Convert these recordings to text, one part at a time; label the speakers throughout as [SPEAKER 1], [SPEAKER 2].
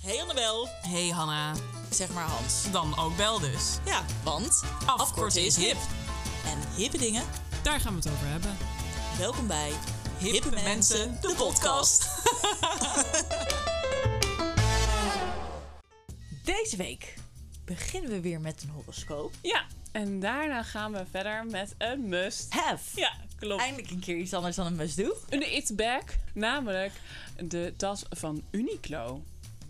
[SPEAKER 1] Hey Annabel.
[SPEAKER 2] Hey Hanna,
[SPEAKER 1] Zeg maar Hans.
[SPEAKER 2] dan ook bel dus.
[SPEAKER 1] Ja, want afkorten is hip. En hippe dingen.
[SPEAKER 2] Daar gaan we het over hebben.
[SPEAKER 1] Welkom bij Hippe, Mensen, de podcast. Deze week beginnen we weer met een horoscoop.
[SPEAKER 3] Ja, en daarna gaan we verder met een must.
[SPEAKER 1] Hef.
[SPEAKER 3] Ja, klopt.
[SPEAKER 1] Eindelijk een keer iets anders dan een must do.
[SPEAKER 3] Een it's back, namelijk de tas van Uniqlo.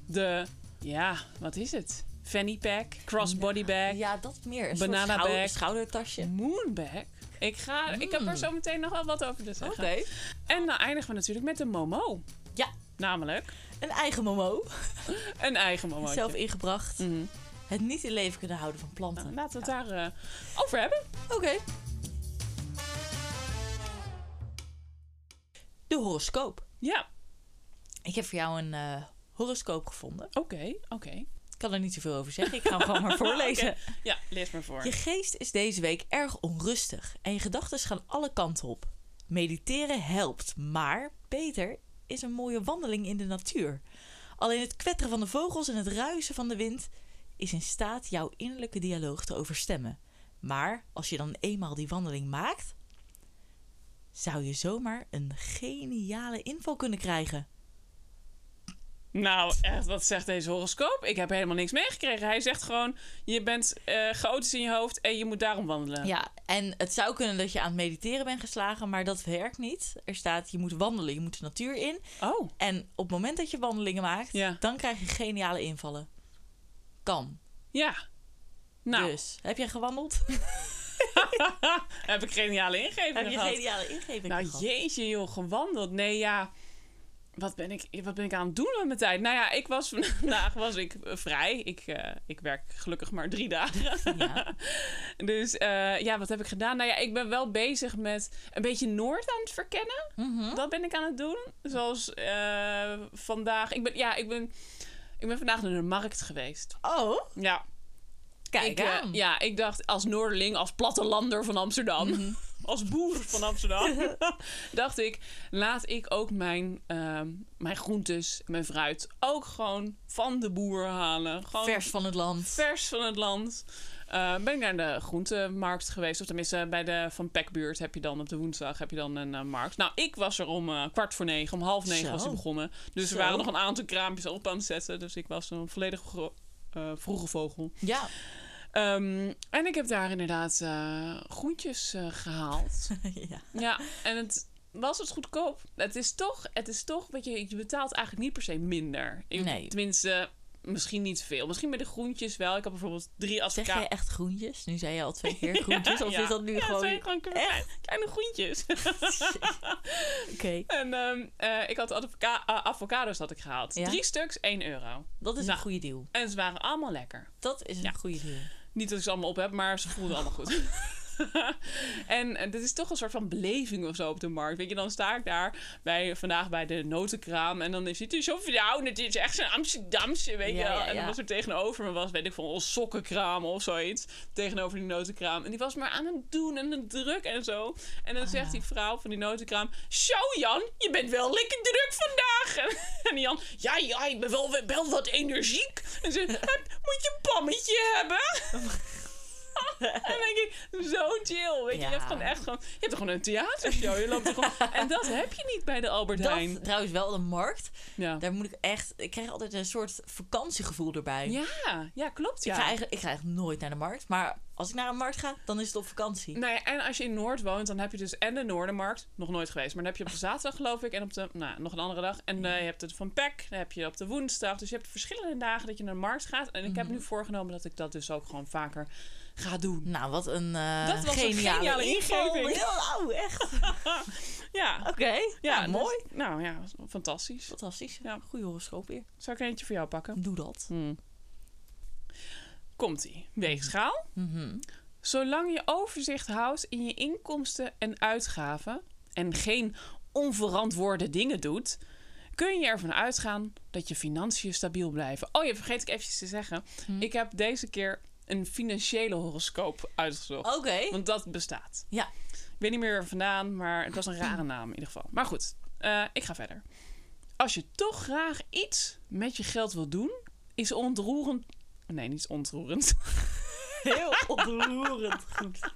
[SPEAKER 3] De, ja, wat is het? Fanny pack, crossbody bag,
[SPEAKER 1] Eh, Ja, dat meer. Een
[SPEAKER 3] Banana
[SPEAKER 1] soort schou-
[SPEAKER 3] bag.
[SPEAKER 1] schoudertasje.
[SPEAKER 3] moon bag. Ik, ga, ik heb er zo meteen nog wel wat over te zeggen. En dan eindigen we natuurlijk met een momo.
[SPEAKER 1] Ja,
[SPEAKER 3] Namelijk
[SPEAKER 1] een eigen momo.
[SPEAKER 3] een eigen momo.
[SPEAKER 1] Zelf ingebracht. Het niet in leven kunnen houden van planten.
[SPEAKER 3] Laten we het daar eh, over hebben.
[SPEAKER 1] Oké. De horoscoop.
[SPEAKER 3] Ja,
[SPEAKER 1] Ik heb voor jou een eh, horoscoop gevonden.
[SPEAKER 3] oké, oké.
[SPEAKER 1] Ik kan er niet zoveel over zeggen. Ik ga hem gewoon maar voorlezen.
[SPEAKER 3] Oké. Ja, lees maar voor.
[SPEAKER 1] Je geest is deze week erg onrustig en je gedachten gaan alle kanten op. Mediteren helpt, maar beter is een mooie wandeling in de natuur. Alleen het kwetteren van de vogels en het ruisen van de wind is in staat jouw innerlijke dialoog te overstemmen. Maar als je dan eenmaal die wandeling maakt, zou je zomaar een geniale inval kunnen krijgen.
[SPEAKER 3] Nou, echt, wat zegt deze horoscoop? Ik heb helemaal niks meegekregen. Hij zegt gewoon, je bent eh chaotisch in je hoofd en je moet daarom wandelen.
[SPEAKER 1] Ja, en het zou kunnen dat je aan het mediteren bent geslagen, maar dat werkt niet. Er staat, je moet wandelen, je moet de natuur in.
[SPEAKER 3] Oh,
[SPEAKER 1] En op het moment dat je wandelingen maakt,
[SPEAKER 3] Ja.
[SPEAKER 1] dan krijg je geniale invallen. Kan.
[SPEAKER 3] ja. Nou,
[SPEAKER 1] Dus, heb jij gewandeld?
[SPEAKER 3] heb ik geniale
[SPEAKER 1] heb
[SPEAKER 3] ingevingen
[SPEAKER 1] je
[SPEAKER 3] gehad.
[SPEAKER 1] geniale ingeving
[SPEAKER 3] nou,
[SPEAKER 1] gehad?
[SPEAKER 3] jeetje joh, gewandeld. Nee, ja, wat ben, ik, wat ben ik aan het doen met mijn tijd? Nou ja, ik was vandaag was ik eh, vrij. Ik, eh, ik werk gelukkig maar drie dagen.
[SPEAKER 1] Ja.
[SPEAKER 3] Dus eh, ja, wat heb ik gedaan? Nou ja, ik ben wel bezig met een beetje Noord aan het verkennen.
[SPEAKER 1] Mhm.
[SPEAKER 3] Dat ben ik aan het doen. Zoals eh, vandaag. Ik ben, ja, ik ben, ik ben vandaag naar de markt geweest.
[SPEAKER 1] Oh,
[SPEAKER 3] Ja.
[SPEAKER 1] kijk
[SPEAKER 3] ik, eh,
[SPEAKER 1] aan.
[SPEAKER 3] ja, ik dacht als Noorderling, als plattelander van Amsterdam.
[SPEAKER 1] Mhm.
[SPEAKER 3] Als boer van Amsterdam. dacht ik, laat ik ook mijn, ehm, mijn groentes, mijn fruit ook gewoon van de boer halen. Gewoon
[SPEAKER 1] Vers van het land.
[SPEAKER 3] vers van het land. Eh, ben ik naar de groentemarkt geweest. Of tenminste, bij de Van Pekbuurt heb je dan op de woensdag heb je dan een eh, markt. Nou, ik was er om eh, kwart voor negen. Om half negen
[SPEAKER 1] Zo.
[SPEAKER 3] was hij begonnen. Dus
[SPEAKER 1] Zo.
[SPEAKER 3] er waren nog een aantal kraampjes op aan het zetten. Dus ik was een volledig gro- eh, vroege vogel.
[SPEAKER 1] Ja,
[SPEAKER 3] Ehm, en ik heb daar inderdaad eh, groentjes eh, gehaald.
[SPEAKER 1] ja.
[SPEAKER 3] ja, en het was het goedkoop. Het is toch, het is toch, weet je, je betaalt eigenlijk niet per se minder. Ik-
[SPEAKER 1] Nee.
[SPEAKER 3] Tenminste, misschien niet veel. Misschien bij de groentjes wel. Ik had bijvoorbeeld drie
[SPEAKER 1] Zeg
[SPEAKER 3] Afrika
[SPEAKER 1] jij echt groentjes? Nu zei je al twee keer groentjes. of
[SPEAKER 3] ja.
[SPEAKER 1] is dat nu
[SPEAKER 3] Ja, het
[SPEAKER 1] gewoon...
[SPEAKER 3] zijn kleine, kleine groentjes.
[SPEAKER 1] Oké,
[SPEAKER 3] en ehm, eh, ik had advoca- eh, avocados had ik gehaald.
[SPEAKER 1] Ja.
[SPEAKER 3] Drie stuks, 1 euro.
[SPEAKER 1] dat is
[SPEAKER 3] Nou.
[SPEAKER 1] een goede deal.
[SPEAKER 3] En ze waren allemaal lekker.
[SPEAKER 1] Dat is een
[SPEAKER 3] Ja.
[SPEAKER 1] goede deal.
[SPEAKER 3] Niet dat ik ze allemaal op heb, maar ze voelden allemaal goed. en eh, dit is toch een soort van beleving of zo op de markt. Weet je, dan sta ik daar bij, vandaag bij de notenkraam. En dan is het hier zo'n vrouw. en Het is echt zo'n Amsterdamse, weet je
[SPEAKER 1] Ja,
[SPEAKER 3] wel.
[SPEAKER 1] ja,
[SPEAKER 3] En
[SPEAKER 1] ja.
[SPEAKER 3] dan was er tegenover me was, weet ik veel, een sokkenkraam of zoiets. Tegenover die notenkraam. En die was maar aan het doen en het druk en zo. En
[SPEAKER 1] Ah,
[SPEAKER 3] dan zegt die vrouw van die notenkraam... Zo Jan, je bent wel lekker druk vandaag. En- En Jan... Ja, ja, ik ben wel, wel wat energiek. En ze... "Heb- Moet je een pammetje hebben? En dan denk ik, zo chill. Weet je,
[SPEAKER 1] Ja.
[SPEAKER 3] je hebt gewoon echt gewoon... Je hebt gewoon een theatershow. Je loopt er gewoon... En dat heb je niet bij de Albert Heijn.
[SPEAKER 1] Dat, trouwens wel de markt.
[SPEAKER 3] Ja.
[SPEAKER 1] Daar moet ik echt... Ik krijg altijd een soort vakantiegevoel erbij.
[SPEAKER 3] ja, ja, klopt ja.
[SPEAKER 1] Ik, ga eigenlijk, ik ga eigenlijk nooit naar de markt. Maar als ik naar een markt ga, dan is het op vakantie.
[SPEAKER 3] Nou ja, en als je in Noord woont, dan heb je dus en de Noordermarkt, nog nooit geweest, maar dan heb je op de zaterdag geloof ik en op de, nou, nog een andere dag. En eh, je hebt het van Pek, dan heb je op de woensdag. Dus je hebt verschillende dagen dat je naar de markt gaat. En ik heb
[SPEAKER 1] Mhm.
[SPEAKER 3] nu voorgenomen dat ik dat dus ook gewoon vaker ga doen.
[SPEAKER 1] Nou, wat een eh
[SPEAKER 3] Dat was een geniale
[SPEAKER 1] inval.
[SPEAKER 3] ingeving.
[SPEAKER 1] Heel lauw, echt. Oké.
[SPEAKER 3] Ja,
[SPEAKER 1] Ja,
[SPEAKER 3] dus-
[SPEAKER 1] mooi.
[SPEAKER 3] nou ja, was fantastisch.
[SPEAKER 1] Fantastisch.
[SPEAKER 3] Ja.
[SPEAKER 1] Goeie horoscoop weer.
[SPEAKER 3] Zou ik er eentje voor jou pakken?
[SPEAKER 1] Doe dat.
[SPEAKER 3] Komt-ie. Weegschaal.
[SPEAKER 1] Mhm.
[SPEAKER 3] Zolang je overzicht houdt in je inkomsten en uitgaven en geen onverantwoorde dingen doet, kun je ervan uitgaan dat je financiën stabiel blijven. Oh ja, vergeet ik eventjes te zeggen. Ik heb deze keer een financiële horoscoop uitgezocht.
[SPEAKER 1] Oké.
[SPEAKER 3] Want dat bestaat.
[SPEAKER 1] Ja.
[SPEAKER 3] Ik weet niet meer waar vandaan, maar het was een rare naam in ieder geval. Maar goed, eh, ik ga verder. Als je toch graag iets met je geld wil doen, is ontroerend. Nee, niet ontroerend.
[SPEAKER 1] Heel ontroerend goed.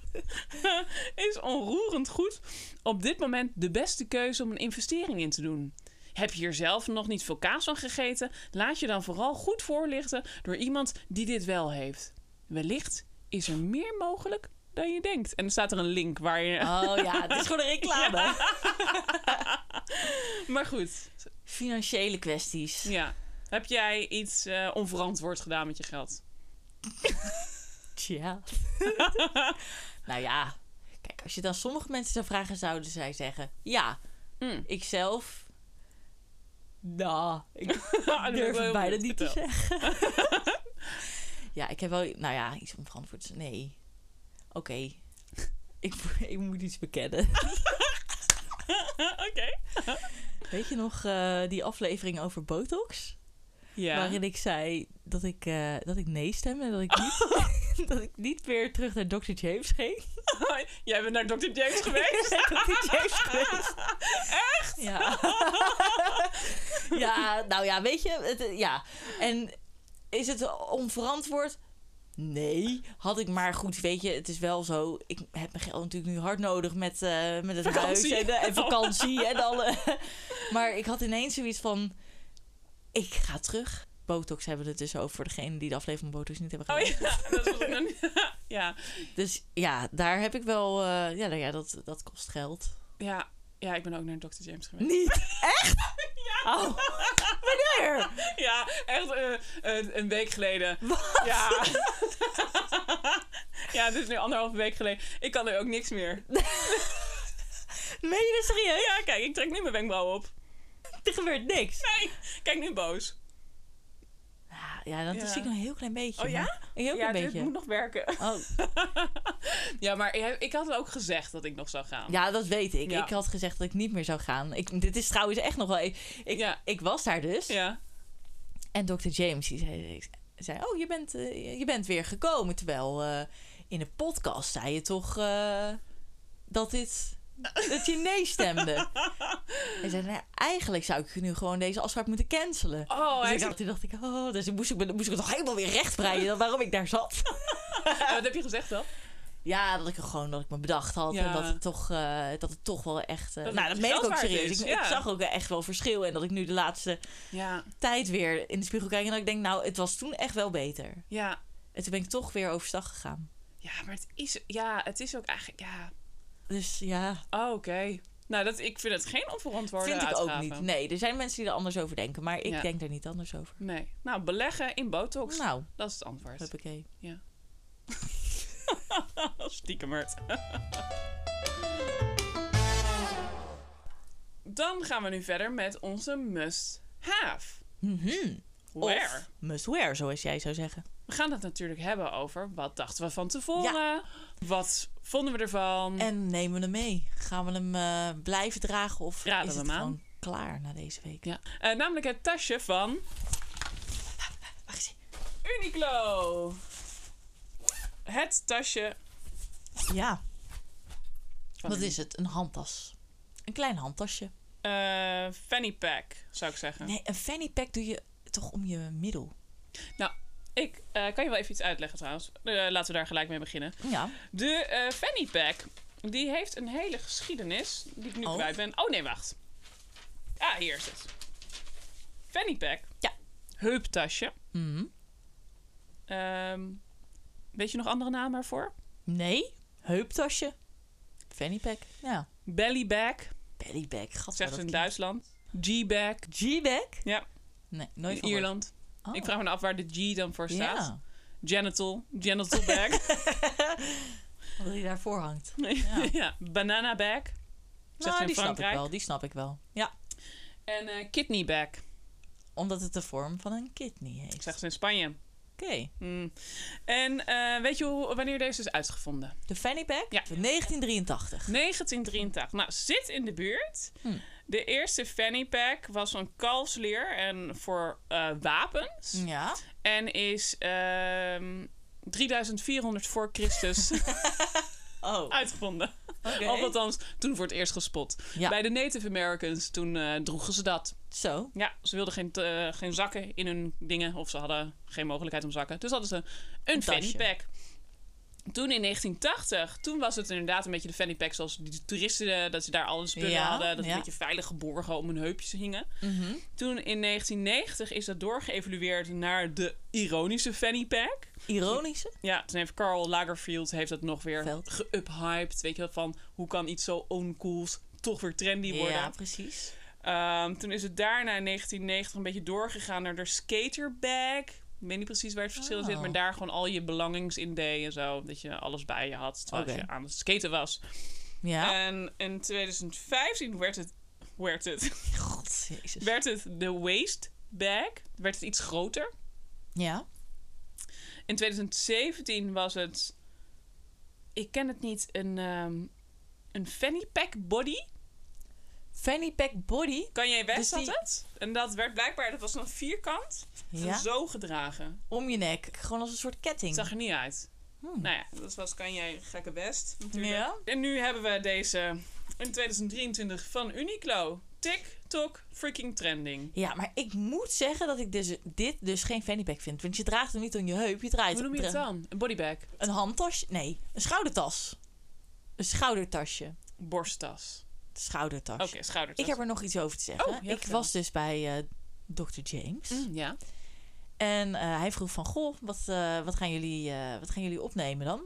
[SPEAKER 3] is onroerend goed op dit moment de beste keuze om een investering in te doen. Heb je hier zelf nog niet veel kaas van gegeten? Laat je dan vooral goed voorlichten door iemand die dit wel heeft. Wellicht is er meer mogelijk dan je denkt. En er staat er een link waar je.
[SPEAKER 1] Oh ja, het is gewoon een reclame.
[SPEAKER 3] Maar goed,
[SPEAKER 1] Financiële kwesties.
[SPEAKER 3] ja. Heb jij iets eh, onverantwoord gedaan met je geld?
[SPEAKER 1] Tja. nou ja, kijk, als je dan sommige mensen zou vragen, zouden zij zeggen: Ja,
[SPEAKER 3] Mm.
[SPEAKER 1] ikzelf. Nou, ik
[SPEAKER 3] Ah, dat wil ik
[SPEAKER 1] durf het
[SPEAKER 3] wel heel
[SPEAKER 1] bijna
[SPEAKER 3] moeilijk
[SPEAKER 1] niet te
[SPEAKER 3] vertellen.
[SPEAKER 1] zeggen. ja, ik heb wel, nou ja, iets onverantwoords. Nee. Oké. Ik, ik moet iets bekennen.
[SPEAKER 3] Oké.
[SPEAKER 1] Weet je nog eh, die aflevering over botox?
[SPEAKER 3] Ja.
[SPEAKER 1] Waarin ik zei dat ik, eh, dat ik nee stemde en dat ik, niet, dat ik niet weer terug naar Dr. James ging.
[SPEAKER 3] jij bent naar Dr. James geweest?
[SPEAKER 1] Dr. James geweest. Echt? Ja. ja, nou ja, weet je, het, ja. En is het onverantwoord? Nee, had ik maar goed, weet je, het is wel zo. Ik heb mijn geld natuurlijk nu hard nodig met, eh, met het
[SPEAKER 3] Vakantie.
[SPEAKER 1] huis en, de- en vakantie en alle. Maar ik had ineens zoiets van, ik ga terug. Botox hebben we het dus over voor degenen die de aflevering van Botox niet hebben
[SPEAKER 3] Oh
[SPEAKER 1] gedaan.
[SPEAKER 3] ja, dat was ik nog niet. ja.
[SPEAKER 1] Dus ja, daar heb ik wel, eh, ja, nou ja dat, dat kost geld.
[SPEAKER 3] Ja, ja, ik ben ook naar Dr. James geweest.
[SPEAKER 1] Niet echt? Ja. Oh, wanneer?
[SPEAKER 3] Ja, echt eh, een, een week geleden.
[SPEAKER 1] Wat?
[SPEAKER 3] Ja. ja, het is nu anderhalve week geleden. Ik kan er ook niks meer.
[SPEAKER 1] Meen je dat serieus?
[SPEAKER 3] Ja, kijk, ik trek nu mijn wenkbrauw op.
[SPEAKER 1] Er gebeurt niks.
[SPEAKER 3] Nee, kijk nu boos.
[SPEAKER 1] Ja, Nou, ja dan
[SPEAKER 3] Ja.
[SPEAKER 1] zie ik nog een heel klein beetje.
[SPEAKER 3] Oh ja?
[SPEAKER 1] maar- Een heel
[SPEAKER 3] ja,
[SPEAKER 1] klein
[SPEAKER 3] dit
[SPEAKER 1] beetje.
[SPEAKER 3] moet nog werken.
[SPEAKER 1] Oh,
[SPEAKER 3] Ja, maar ik ik had ook gezegd dat ik nog zou gaan.
[SPEAKER 1] ja, dat weet ik.
[SPEAKER 3] Ja.
[SPEAKER 1] Ik had gezegd dat ik niet meer zou gaan. Ik, dit is trouwens echt nog wel... Ik, ik,
[SPEAKER 3] Ja.
[SPEAKER 1] ik was daar dus.
[SPEAKER 3] Ja.
[SPEAKER 1] En dokter James die zei, zei... Oh, je bent, eh, je bent weer gekomen. Terwijl eh, in de podcast zei je toch... eh, dat dit... Dat je nee stemde. Hij zei, nou, eigenlijk zou ik nu gewoon deze afspraak moeten cancelen.
[SPEAKER 3] Oh,
[SPEAKER 1] Dus
[SPEAKER 3] hij
[SPEAKER 1] ik dacht, toen dacht ik, oh, dus moest ik, me- moest ik het toch helemaal weer rechtbreien dan waarom ik daar zat.
[SPEAKER 3] Ja, wat oh, heb je gezegd dan?
[SPEAKER 1] Ja, dat ik er gewoon dat ik me bedacht had en
[SPEAKER 3] Ja.
[SPEAKER 1] dat het toch, eh, dat het toch wel echt. eh,
[SPEAKER 3] Dat
[SPEAKER 1] nou,
[SPEAKER 3] het
[SPEAKER 1] dat meen ik
[SPEAKER 3] geld
[SPEAKER 1] ook
[SPEAKER 3] waard
[SPEAKER 1] serieus.
[SPEAKER 3] is,
[SPEAKER 1] Ik,
[SPEAKER 3] ja.
[SPEAKER 1] ik zag ook echt wel verschil en dat ik nu de laatste
[SPEAKER 3] Ja,
[SPEAKER 1] tijd weer in de spiegel kijk en dat ik denk, nou, het was toen echt wel beter.
[SPEAKER 3] ja.
[SPEAKER 1] En toen ben ik toch weer overstag gegaan.
[SPEAKER 3] Ja, maar het is, ja, het is ook eigenlijk... Ja.
[SPEAKER 1] Dus ja,
[SPEAKER 3] Oh, oké. Nou, dat, ik vind het geen onverantwoorde
[SPEAKER 1] vind ik ook
[SPEAKER 3] uitgave.
[SPEAKER 1] niet. Nee, er zijn mensen die er anders over denken, maar ik
[SPEAKER 3] Ja.
[SPEAKER 1] denk er niet anders over.
[SPEAKER 3] Nee. Nou, beleggen in botox.
[SPEAKER 1] Nou,
[SPEAKER 3] Dat is het antwoord.
[SPEAKER 1] huppakee.
[SPEAKER 3] Stiekemert. Dan gaan we nu verder met onze must have.
[SPEAKER 1] Mhm.
[SPEAKER 3] Where?
[SPEAKER 1] Of must wear, zoals jij zou zeggen.
[SPEAKER 3] We gaan het natuurlijk hebben over wat dachten we van tevoren. Wat vonden we ervan?
[SPEAKER 1] En nemen we hem mee? Gaan we hem eh, blijven dragen of
[SPEAKER 3] Raden
[SPEAKER 1] is
[SPEAKER 3] we
[SPEAKER 1] het
[SPEAKER 3] hem aan?
[SPEAKER 1] gewoon klaar na deze week?
[SPEAKER 3] Ja. Eh, namelijk het tasje van
[SPEAKER 1] Wacht eens.
[SPEAKER 3] Uniqlo. Het tasje.
[SPEAKER 1] Ja,
[SPEAKER 3] Van
[SPEAKER 1] wat
[SPEAKER 3] Uni-
[SPEAKER 1] is het? Een handtas. Een klein handtasje.
[SPEAKER 3] Eh, fanny pack, zou ik zeggen.
[SPEAKER 1] Nee, een fanny pack doe je toch om je middel.
[SPEAKER 3] Nou, Ik eh, kan je wel even iets uitleggen trouwens. Eh, laten we daar gelijk mee beginnen.
[SPEAKER 1] Ja.
[SPEAKER 3] De eh, fanny pack, die heeft een hele geschiedenis die ik nu
[SPEAKER 1] Oh.
[SPEAKER 3] kwijt ben. Oh nee, wacht. Ah, hier is het. Fanny pack.
[SPEAKER 1] Ja.
[SPEAKER 3] Heuptasje.
[SPEAKER 1] Mhm.
[SPEAKER 3] Ehm, weet je nog andere namen daarvoor?
[SPEAKER 1] Nee, heuptasje. Fanny pack. Ja.
[SPEAKER 3] Belly bag,
[SPEAKER 1] Belly bag. Gat,
[SPEAKER 3] zegt
[SPEAKER 1] dat
[SPEAKER 3] ze in
[SPEAKER 1] klinkt-
[SPEAKER 3] Duitsland. G-bag,
[SPEAKER 1] G-bag?
[SPEAKER 3] Ja.
[SPEAKER 1] Nee, nooit
[SPEAKER 3] in
[SPEAKER 1] van gehoord.
[SPEAKER 3] Ierland.
[SPEAKER 1] Oh.
[SPEAKER 3] Ik vraag me nou af waar de G dan voor staat.
[SPEAKER 1] Ja,
[SPEAKER 3] Genital, genital bag.
[SPEAKER 1] omdat hij daarvoor hangt.
[SPEAKER 3] ja. Banana bag, zegt ze
[SPEAKER 1] nou, die
[SPEAKER 3] in
[SPEAKER 1] snap ik
[SPEAKER 3] Frankrijk.
[SPEAKER 1] wel. Die snap ik wel. Ja,
[SPEAKER 3] En eh, kidney bag,
[SPEAKER 1] omdat het de vorm van een kidney heeft.
[SPEAKER 3] zegt ze in Spanje.
[SPEAKER 1] Oké.
[SPEAKER 3] Mm. En eh, weet je hoe, wanneer deze is uitgevonden?
[SPEAKER 1] De fanny pack?
[SPEAKER 3] Ja.
[SPEAKER 1] Van 1983.
[SPEAKER 3] 1983. Nou, zit in de buurt.
[SPEAKER 1] Hm.
[SPEAKER 3] De eerste fanny pack was een kalfsleer en voor eh, wapens.
[SPEAKER 1] Ja.
[SPEAKER 3] En is ehm, 3400 voor Christus
[SPEAKER 1] Oh.
[SPEAKER 3] uitgevonden.
[SPEAKER 1] Oké. Oké.
[SPEAKER 3] Of althans, toen voor het eerst gespot.
[SPEAKER 1] Ja.
[SPEAKER 3] Bij de Native Americans, toen eh, droegen ze dat.
[SPEAKER 1] Zo.
[SPEAKER 3] Ja, ze wilden geen, eh, geen zakken in hun dingen. Of ze hadden geen mogelijkheid om zakken. Dus hadden ze een fanny
[SPEAKER 1] tasje.
[SPEAKER 3] pack. Toen in 1980, toen was het inderdaad een beetje de fanny pack zoals die toeristen, eh, dat ze daar alle spullen
[SPEAKER 1] Ja,
[SPEAKER 3] hadden. Dat
[SPEAKER 1] ja.
[SPEAKER 3] een beetje veilig geborgen om hun heupjes hingen.
[SPEAKER 1] Mhm.
[SPEAKER 3] Toen in 1990 is dat doorgeëvolueerd naar de ironische fanny pack.
[SPEAKER 1] Ironische.
[SPEAKER 3] Ja, toen heeft Carl Lagerfeld heeft dat nog weer
[SPEAKER 1] Veld.
[SPEAKER 3] geüphyped. Weet je wel, van hoe kan iets zo oncools toch weer trendy worden.
[SPEAKER 1] Ja, precies.
[SPEAKER 3] Ehm, toen is het daarna in 1990 een beetje doorgegaan naar de skaterbag. Ik weet niet precies waar het verschil in zit,
[SPEAKER 1] Oh.
[SPEAKER 3] maar daar gewoon al je belangings in deed en zo. Dat je alles bij je had terwijl
[SPEAKER 1] Oké.
[SPEAKER 3] je aan het skaten was.
[SPEAKER 1] Ja.
[SPEAKER 3] En in 2015 werd het, werd het,
[SPEAKER 1] Eh, God, jezus.
[SPEAKER 3] werd het de waist bag. Werd het iets groter.
[SPEAKER 1] Ja.
[SPEAKER 3] In 2017 was het. Ik ken het niet. Een, ehm, een fanny pack body.
[SPEAKER 1] Fanny pack body.
[SPEAKER 3] Kan jij weg,
[SPEAKER 1] Dus
[SPEAKER 3] zat
[SPEAKER 1] die-
[SPEAKER 3] het? En dat werd blijkbaar. Dat was een vierkant.
[SPEAKER 1] Ja.
[SPEAKER 3] Zo gedragen.
[SPEAKER 1] Om je nek. Gewoon als een soort ketting.
[SPEAKER 3] Het zag er niet uit.
[SPEAKER 1] Hmm.
[SPEAKER 3] Nou ja, dat was kan jij gekke best. Natuurlijk.
[SPEAKER 1] Ja.
[SPEAKER 3] En nu hebben we deze in 2023 van Uniqlo. TikTok freaking trending.
[SPEAKER 1] Ja, maar ik moet zeggen dat ik dus, dit dus geen fanny pack vind. Want je draagt hem niet om je heup. Je draait
[SPEAKER 3] Hoe noem je het
[SPEAKER 1] dra-
[SPEAKER 3] dan? Een bodybag.
[SPEAKER 1] Een handtasje? Nee, een schoudertas. Een schoudertasje.
[SPEAKER 3] Borsttas.
[SPEAKER 1] Schoudertasje.
[SPEAKER 3] Oké, schouders.
[SPEAKER 1] Ik heb er nog iets over te zeggen.
[SPEAKER 3] Oh, ja,
[SPEAKER 1] ik
[SPEAKER 3] vertel. Mhm.
[SPEAKER 1] was dus bij eh, Dr. James.
[SPEAKER 3] Hmm, Ja.
[SPEAKER 1] En eh, hij vroeg van, goh, wat, eh, wat, gaan jullie, eh, wat gaan jullie opnemen dan?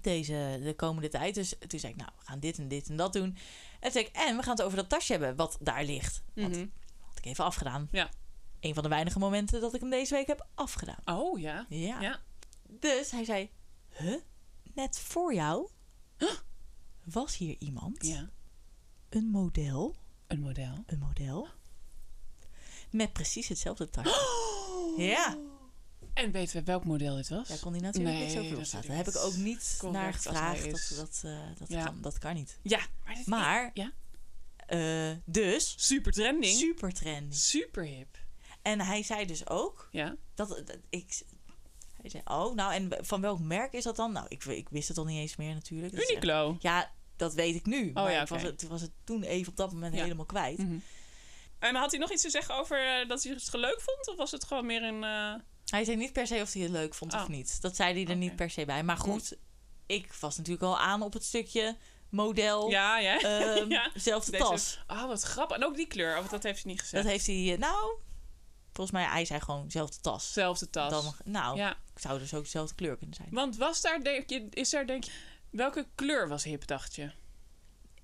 [SPEAKER 1] Deze, de komende tijd. Dus toen zei ik, nou, we gaan dit en dit en dat doen. En toen zei ik, en we gaan het over dat tasje hebben wat daar ligt. Want
[SPEAKER 3] Mhm.
[SPEAKER 1] had ik even afgedaan.
[SPEAKER 3] Ja.
[SPEAKER 1] Een van de weinige momenten dat ik hem deze week heb afgedaan.
[SPEAKER 3] Oh ja.
[SPEAKER 1] Ja.
[SPEAKER 3] Ja.
[SPEAKER 1] Dus hij zei, huh? Net voor jou was hier iemand,
[SPEAKER 3] Ja.
[SPEAKER 1] een model,
[SPEAKER 3] Een model.
[SPEAKER 1] een model, met precies hetzelfde tasje. Ja.
[SPEAKER 3] En weten we welk model dit was?
[SPEAKER 1] Daar kon hij natuurlijk
[SPEAKER 3] Nee,
[SPEAKER 1] niks over
[SPEAKER 3] dat
[SPEAKER 1] opstaan. Daar
[SPEAKER 3] natuurlijk
[SPEAKER 1] heb ik ook niet
[SPEAKER 3] Correct
[SPEAKER 1] naar
[SPEAKER 3] als hij
[SPEAKER 1] gevraagd. Dat,
[SPEAKER 3] is.
[SPEAKER 1] dat, eh, dat,
[SPEAKER 3] Ja.
[SPEAKER 1] kan, dat kan niet.
[SPEAKER 3] Ja, maar, dit
[SPEAKER 1] Maar,
[SPEAKER 3] ja.
[SPEAKER 1] eh, dus,
[SPEAKER 3] super trending. Super,
[SPEAKER 1] super trendy.
[SPEAKER 3] hip.
[SPEAKER 1] En hij zei dus ook,
[SPEAKER 3] Ja.
[SPEAKER 1] dat, dat ik... Hij zei, oh, nou, en van welk merk is dat dan? Nou, ik, ik wist het al niet eens meer natuurlijk. Dat is echt-
[SPEAKER 3] Uniqlo. Oh,
[SPEAKER 1] Ja, dat weet ik nu. maar
[SPEAKER 3] ja,
[SPEAKER 1] ik was,
[SPEAKER 3] oké.
[SPEAKER 1] het, was het toen even op dat moment
[SPEAKER 3] Ja. Hm.
[SPEAKER 1] helemaal kwijt.
[SPEAKER 3] En had hij nog iets te zeggen over eh, dat hij het leuk vond? Of was het gewoon meer een... eh,
[SPEAKER 1] Hij zei niet per se of hij het leuk vond of
[SPEAKER 3] Oh.
[SPEAKER 1] niet. Dat zei hij er
[SPEAKER 3] Oké. Hm.
[SPEAKER 1] niet per se bij. Maar goed, ik was natuurlijk al aan op het stukje model,
[SPEAKER 3] Ja, ja.
[SPEAKER 1] ehm,
[SPEAKER 3] ja.
[SPEAKER 1] zelfde
[SPEAKER 3] Deze-
[SPEAKER 1] tas.
[SPEAKER 3] Ah, wat grappig. En ook die kleur. Of dat heeft hij niet gezegd.
[SPEAKER 1] Dat heeft hij, eh, nou, volgens mij, hij zei gewoon zelfde tas.
[SPEAKER 3] Zelfde tas.
[SPEAKER 1] Dan, nou,
[SPEAKER 3] Ja.
[SPEAKER 1] ik zou dus ook dezelfde kleur kunnen zijn.
[SPEAKER 3] Want was daar, denk je... Is daar, denk je... Welke kleur was hip, dacht je?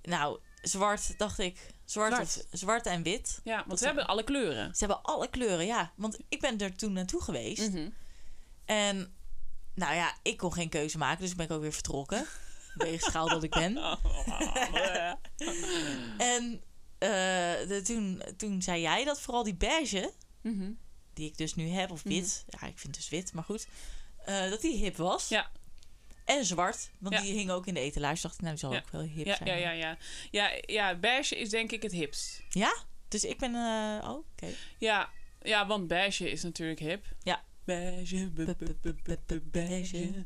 [SPEAKER 1] Nou, zwart, dacht ik. Zwart,
[SPEAKER 3] Zwart.
[SPEAKER 1] Of, zwart en wit.
[SPEAKER 3] Ja, want
[SPEAKER 1] Dat
[SPEAKER 3] ze
[SPEAKER 1] zijn-
[SPEAKER 3] hebben alle kleuren.
[SPEAKER 1] Ze hebben alle kleuren, ja. Want ik ben er toen naartoe geweest.
[SPEAKER 3] Mhm.
[SPEAKER 1] En nou ja, ik kon geen keuze maken, dus ben ik ook weer vertrokken. Weegschaal dat ik ben.
[SPEAKER 3] Oh, oh, oh.
[SPEAKER 1] En eh, de- toen, toen zei jij dat vooral die beige,
[SPEAKER 3] Mhm.
[SPEAKER 1] die ik dus nu heb, of wit. Ja, ik vind dus wit, maar goed. eh, dat die hip was.
[SPEAKER 3] Ja.
[SPEAKER 1] En zwart, want
[SPEAKER 3] Ja.
[SPEAKER 1] die hing ook in de etalage. Dacht ik, nou, die zal
[SPEAKER 3] Ja.
[SPEAKER 1] ook wel hip
[SPEAKER 3] Ja,
[SPEAKER 1] zijn.
[SPEAKER 3] ja, ja, ja. Ja, ja, beige is denk ik het hipst.
[SPEAKER 1] Ja? Dus ik ben... eh, oh, oké.
[SPEAKER 3] Ja, ja, want beige is natuurlijk hip.
[SPEAKER 1] Ja.
[SPEAKER 3] Beige, be- be- be- be- be- beige.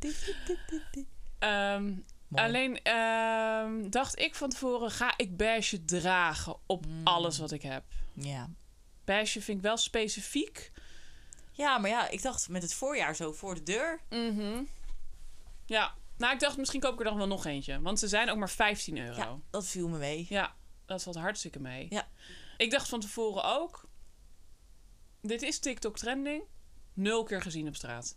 [SPEAKER 3] Ehm,
[SPEAKER 1] Mooi.
[SPEAKER 3] alleen ehm, dacht ik van tevoren, ga ik beige dragen op
[SPEAKER 1] Mm.
[SPEAKER 3] alles wat ik heb.
[SPEAKER 1] Ja.
[SPEAKER 3] Beige vind ik wel specifiek.
[SPEAKER 1] ja, maar ja, ik dacht met het voorjaar zo voor de deur.
[SPEAKER 3] Mhm. Ja, nou ik dacht misschien koop ik er dan wel nog eentje. Want ze zijn ook maar 15 euro.
[SPEAKER 1] Ja, dat viel me mee.
[SPEAKER 3] Ja, dat valt hartstikke mee.
[SPEAKER 1] Ja.
[SPEAKER 3] Ik dacht van tevoren ook... Dit is TikTok trending. Nul keer gezien op straat.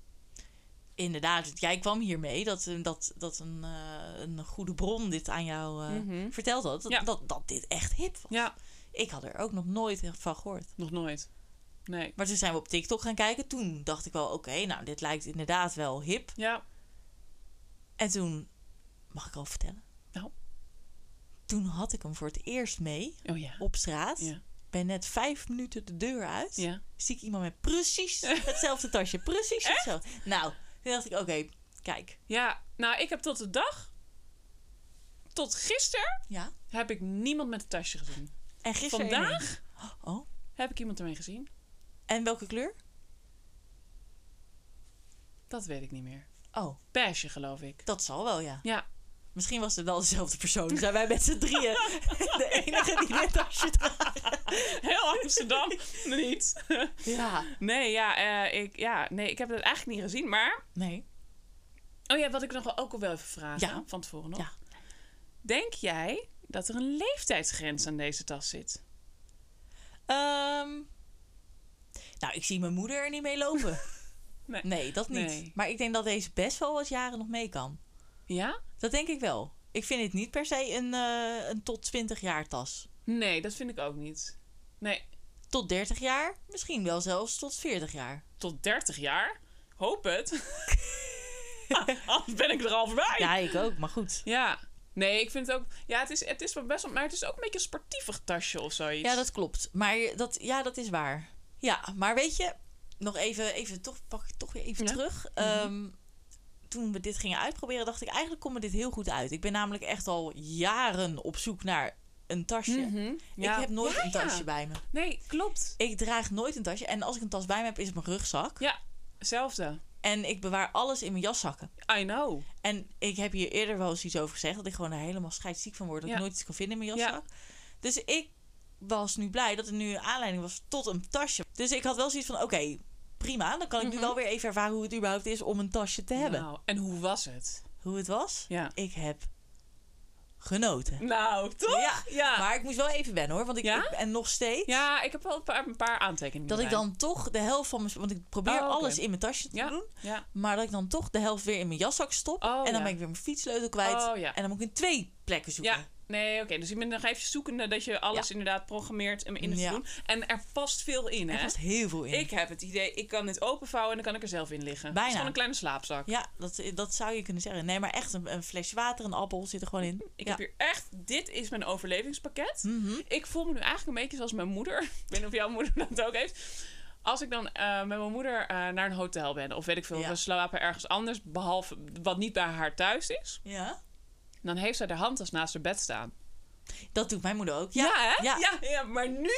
[SPEAKER 1] Inderdaad, want jij kwam hiermee dat, eh, dat, dat een, eh, een goede bron dit aan jou eh,
[SPEAKER 3] Mhm.
[SPEAKER 1] verteld had. Dat,
[SPEAKER 3] Ja.
[SPEAKER 1] dat, dat dit echt hip was.
[SPEAKER 3] Ja,
[SPEAKER 1] Ik had er ook nog nooit echt van gehoord.
[SPEAKER 3] nog nooit. Nee.
[SPEAKER 1] Maar toen zijn we op TikTok gaan kijken. Toen dacht ik wel, oké, nou, dit lijkt inderdaad wel hip.
[SPEAKER 3] Ja,
[SPEAKER 1] En toen, mag ik al vertellen?
[SPEAKER 3] Nou.
[SPEAKER 1] Toen had ik hem voor het eerst mee
[SPEAKER 3] oh ja.
[SPEAKER 1] op straat.
[SPEAKER 3] Ja.
[SPEAKER 1] Ben net vijf minuten de deur uit.
[SPEAKER 3] Ja.
[SPEAKER 1] Zie ik iemand met precies hetzelfde tasje. Precies hetzelfde. Nou, toen dacht ik, oké, kijk.
[SPEAKER 3] ja, nou ik heb tot de dag... Tot gisteren
[SPEAKER 1] Ja.
[SPEAKER 3] heb ik niemand met een tasje gezien.
[SPEAKER 1] En gisteren...
[SPEAKER 3] Vandaag
[SPEAKER 1] Oh,
[SPEAKER 3] heb ik iemand ermee gezien.
[SPEAKER 1] en welke kleur?
[SPEAKER 3] Dat weet ik niet meer.
[SPEAKER 1] Oh,
[SPEAKER 3] Beige geloof ik.
[SPEAKER 1] dat zal wel, ja.
[SPEAKER 3] Ja.
[SPEAKER 1] Misschien was het wel dezelfde persoon. Zijn wij met z'n drieën de enige die dit tasje draagt?
[SPEAKER 3] Heel Amsterdam niet.
[SPEAKER 1] Ja.
[SPEAKER 3] Nee, ja, eh, ik, ja, nee, ik heb het eigenlijk niet gezien. Maar,
[SPEAKER 1] Nee.
[SPEAKER 3] oh ja, wat ik nog wel ook wel even vraag
[SPEAKER 1] Ja.
[SPEAKER 3] van tevoren nog.
[SPEAKER 1] Ja.
[SPEAKER 3] Denk jij dat er een leeftijdsgrens aan deze tas zit?
[SPEAKER 1] Ehm, nou, ik zie mijn moeder er niet mee lopen.
[SPEAKER 3] Nee.
[SPEAKER 1] Nee, dat niet.
[SPEAKER 3] Nee.
[SPEAKER 1] Maar ik denk dat deze best wel wat jaren nog mee kan.
[SPEAKER 3] Ja?
[SPEAKER 1] Dat denk ik wel. Ik vind het niet per se een, eh, een tot 20 jaar tas.
[SPEAKER 3] Nee, dat vind ik ook niet. Nee,
[SPEAKER 1] Tot 30 jaar, misschien wel zelfs tot 40 jaar.
[SPEAKER 3] tot 30 jaar? Hoop het. Anders ben ik er al voorbij.
[SPEAKER 1] Ja, ik ook, maar goed.
[SPEAKER 3] Ja. Nee, ik vind het ook... Ja, het is, het is wel best wel... Maar het is ook een beetje een sportievig tasje of zoiets.
[SPEAKER 1] Ja, dat klopt. Maar dat, ja, dat is waar. Ja, maar weet je, nog even, even toch, pak ik toch weer even
[SPEAKER 3] Ja. Mhm.
[SPEAKER 1] terug. Ehm, toen we dit gingen uitproberen, dacht ik eigenlijk komt me dit heel goed uit. Ik ben namelijk echt al jaren op zoek naar een tasje.
[SPEAKER 3] Mhm.
[SPEAKER 1] Ik
[SPEAKER 3] Ja.
[SPEAKER 1] heb nooit
[SPEAKER 3] Ja,
[SPEAKER 1] een
[SPEAKER 3] ja.
[SPEAKER 1] tasje bij me.
[SPEAKER 3] Nee, klopt.
[SPEAKER 1] Ik draag nooit een tasje. En als ik een tas bij me heb, is het mijn rugzak.
[SPEAKER 3] Ja, hetzelfde.
[SPEAKER 1] En ik bewaar alles in mijn jaszakken.
[SPEAKER 3] I know.
[SPEAKER 1] En ik heb hier eerder wel eens iets over gezegd. Dat ik gewoon er helemaal scheidsziek van word. Dat
[SPEAKER 3] Ja.
[SPEAKER 1] ik nooit iets kan vinden in mijn jaszak. Dus ik was nu blij dat er nu een aanleiding was tot een tasje. Dus ik had wel zoiets van, oké, prima. Dan kan
[SPEAKER 3] Mhm.
[SPEAKER 1] ik nu wel weer even ervaren hoe het überhaupt is om een tasje te hebben.
[SPEAKER 3] Nou, en hoe was het?
[SPEAKER 1] Hoe het was?
[SPEAKER 3] Ja.
[SPEAKER 1] Ik heb genoten.
[SPEAKER 3] Nou, toch?
[SPEAKER 1] Ja,
[SPEAKER 3] ja.
[SPEAKER 1] Maar ik moest wel even wennen hoor. Want ik,
[SPEAKER 3] Ja?
[SPEAKER 1] ik- en nog steeds.
[SPEAKER 3] Ja, ik heb wel een paar, een paar aantekeningen.
[SPEAKER 1] Dat ik
[SPEAKER 3] erbij.
[SPEAKER 1] dan toch de helft van mijn... Want ik probeer
[SPEAKER 3] Oh, oké.
[SPEAKER 1] alles in mijn tasje te
[SPEAKER 3] Ja.
[SPEAKER 1] doen.
[SPEAKER 3] Ja.
[SPEAKER 1] Maar dat ik dan toch de helft weer in mijn jaszak stop.
[SPEAKER 3] Oh,
[SPEAKER 1] en dan
[SPEAKER 3] ja.
[SPEAKER 1] ben ik weer mijn fietssleutel kwijt.
[SPEAKER 3] Oh, ja.
[SPEAKER 1] En dan moet ik in twee plekken zoeken.
[SPEAKER 3] Ja. Nee, oké. Dus ik ben nog even zoekende dat je alles inderdaad programmeert om in het
[SPEAKER 1] Ja.
[SPEAKER 3] te doen. En er past veel in, hè?
[SPEAKER 1] Er past heel veel in.
[SPEAKER 3] Ik heb het idee, ik kan het openvouwen en dan kan ik er zelf in liggen. Het is
[SPEAKER 1] Bijna.
[SPEAKER 3] gewoon een kleine slaapzak.
[SPEAKER 1] Ja, dat, dat zou je kunnen zeggen. Nee, maar echt een, een flesje water, een appel zit er gewoon in.
[SPEAKER 3] Ik
[SPEAKER 1] ja.
[SPEAKER 3] heb hier echt, dit is mijn overlevingspakket.
[SPEAKER 1] Mhm.
[SPEAKER 3] Ik voel me nu eigenlijk een beetje zoals mijn moeder. Ik weet niet of jouw moeder dat ook heeft. Als ik dan eh, met mijn moeder eh, naar een hotel ben, of weet ik veel,
[SPEAKER 1] Ja.
[SPEAKER 3] we slapen ergens anders, behalve wat niet bij haar thuis is,
[SPEAKER 1] ja.
[SPEAKER 3] dan heeft zij de handtas naast haar bed staan.
[SPEAKER 1] Dat doet mijn moeder ook.
[SPEAKER 3] Ja,
[SPEAKER 1] Ja,
[SPEAKER 3] hè?
[SPEAKER 1] Ja.
[SPEAKER 3] Ja, ja, maar nu,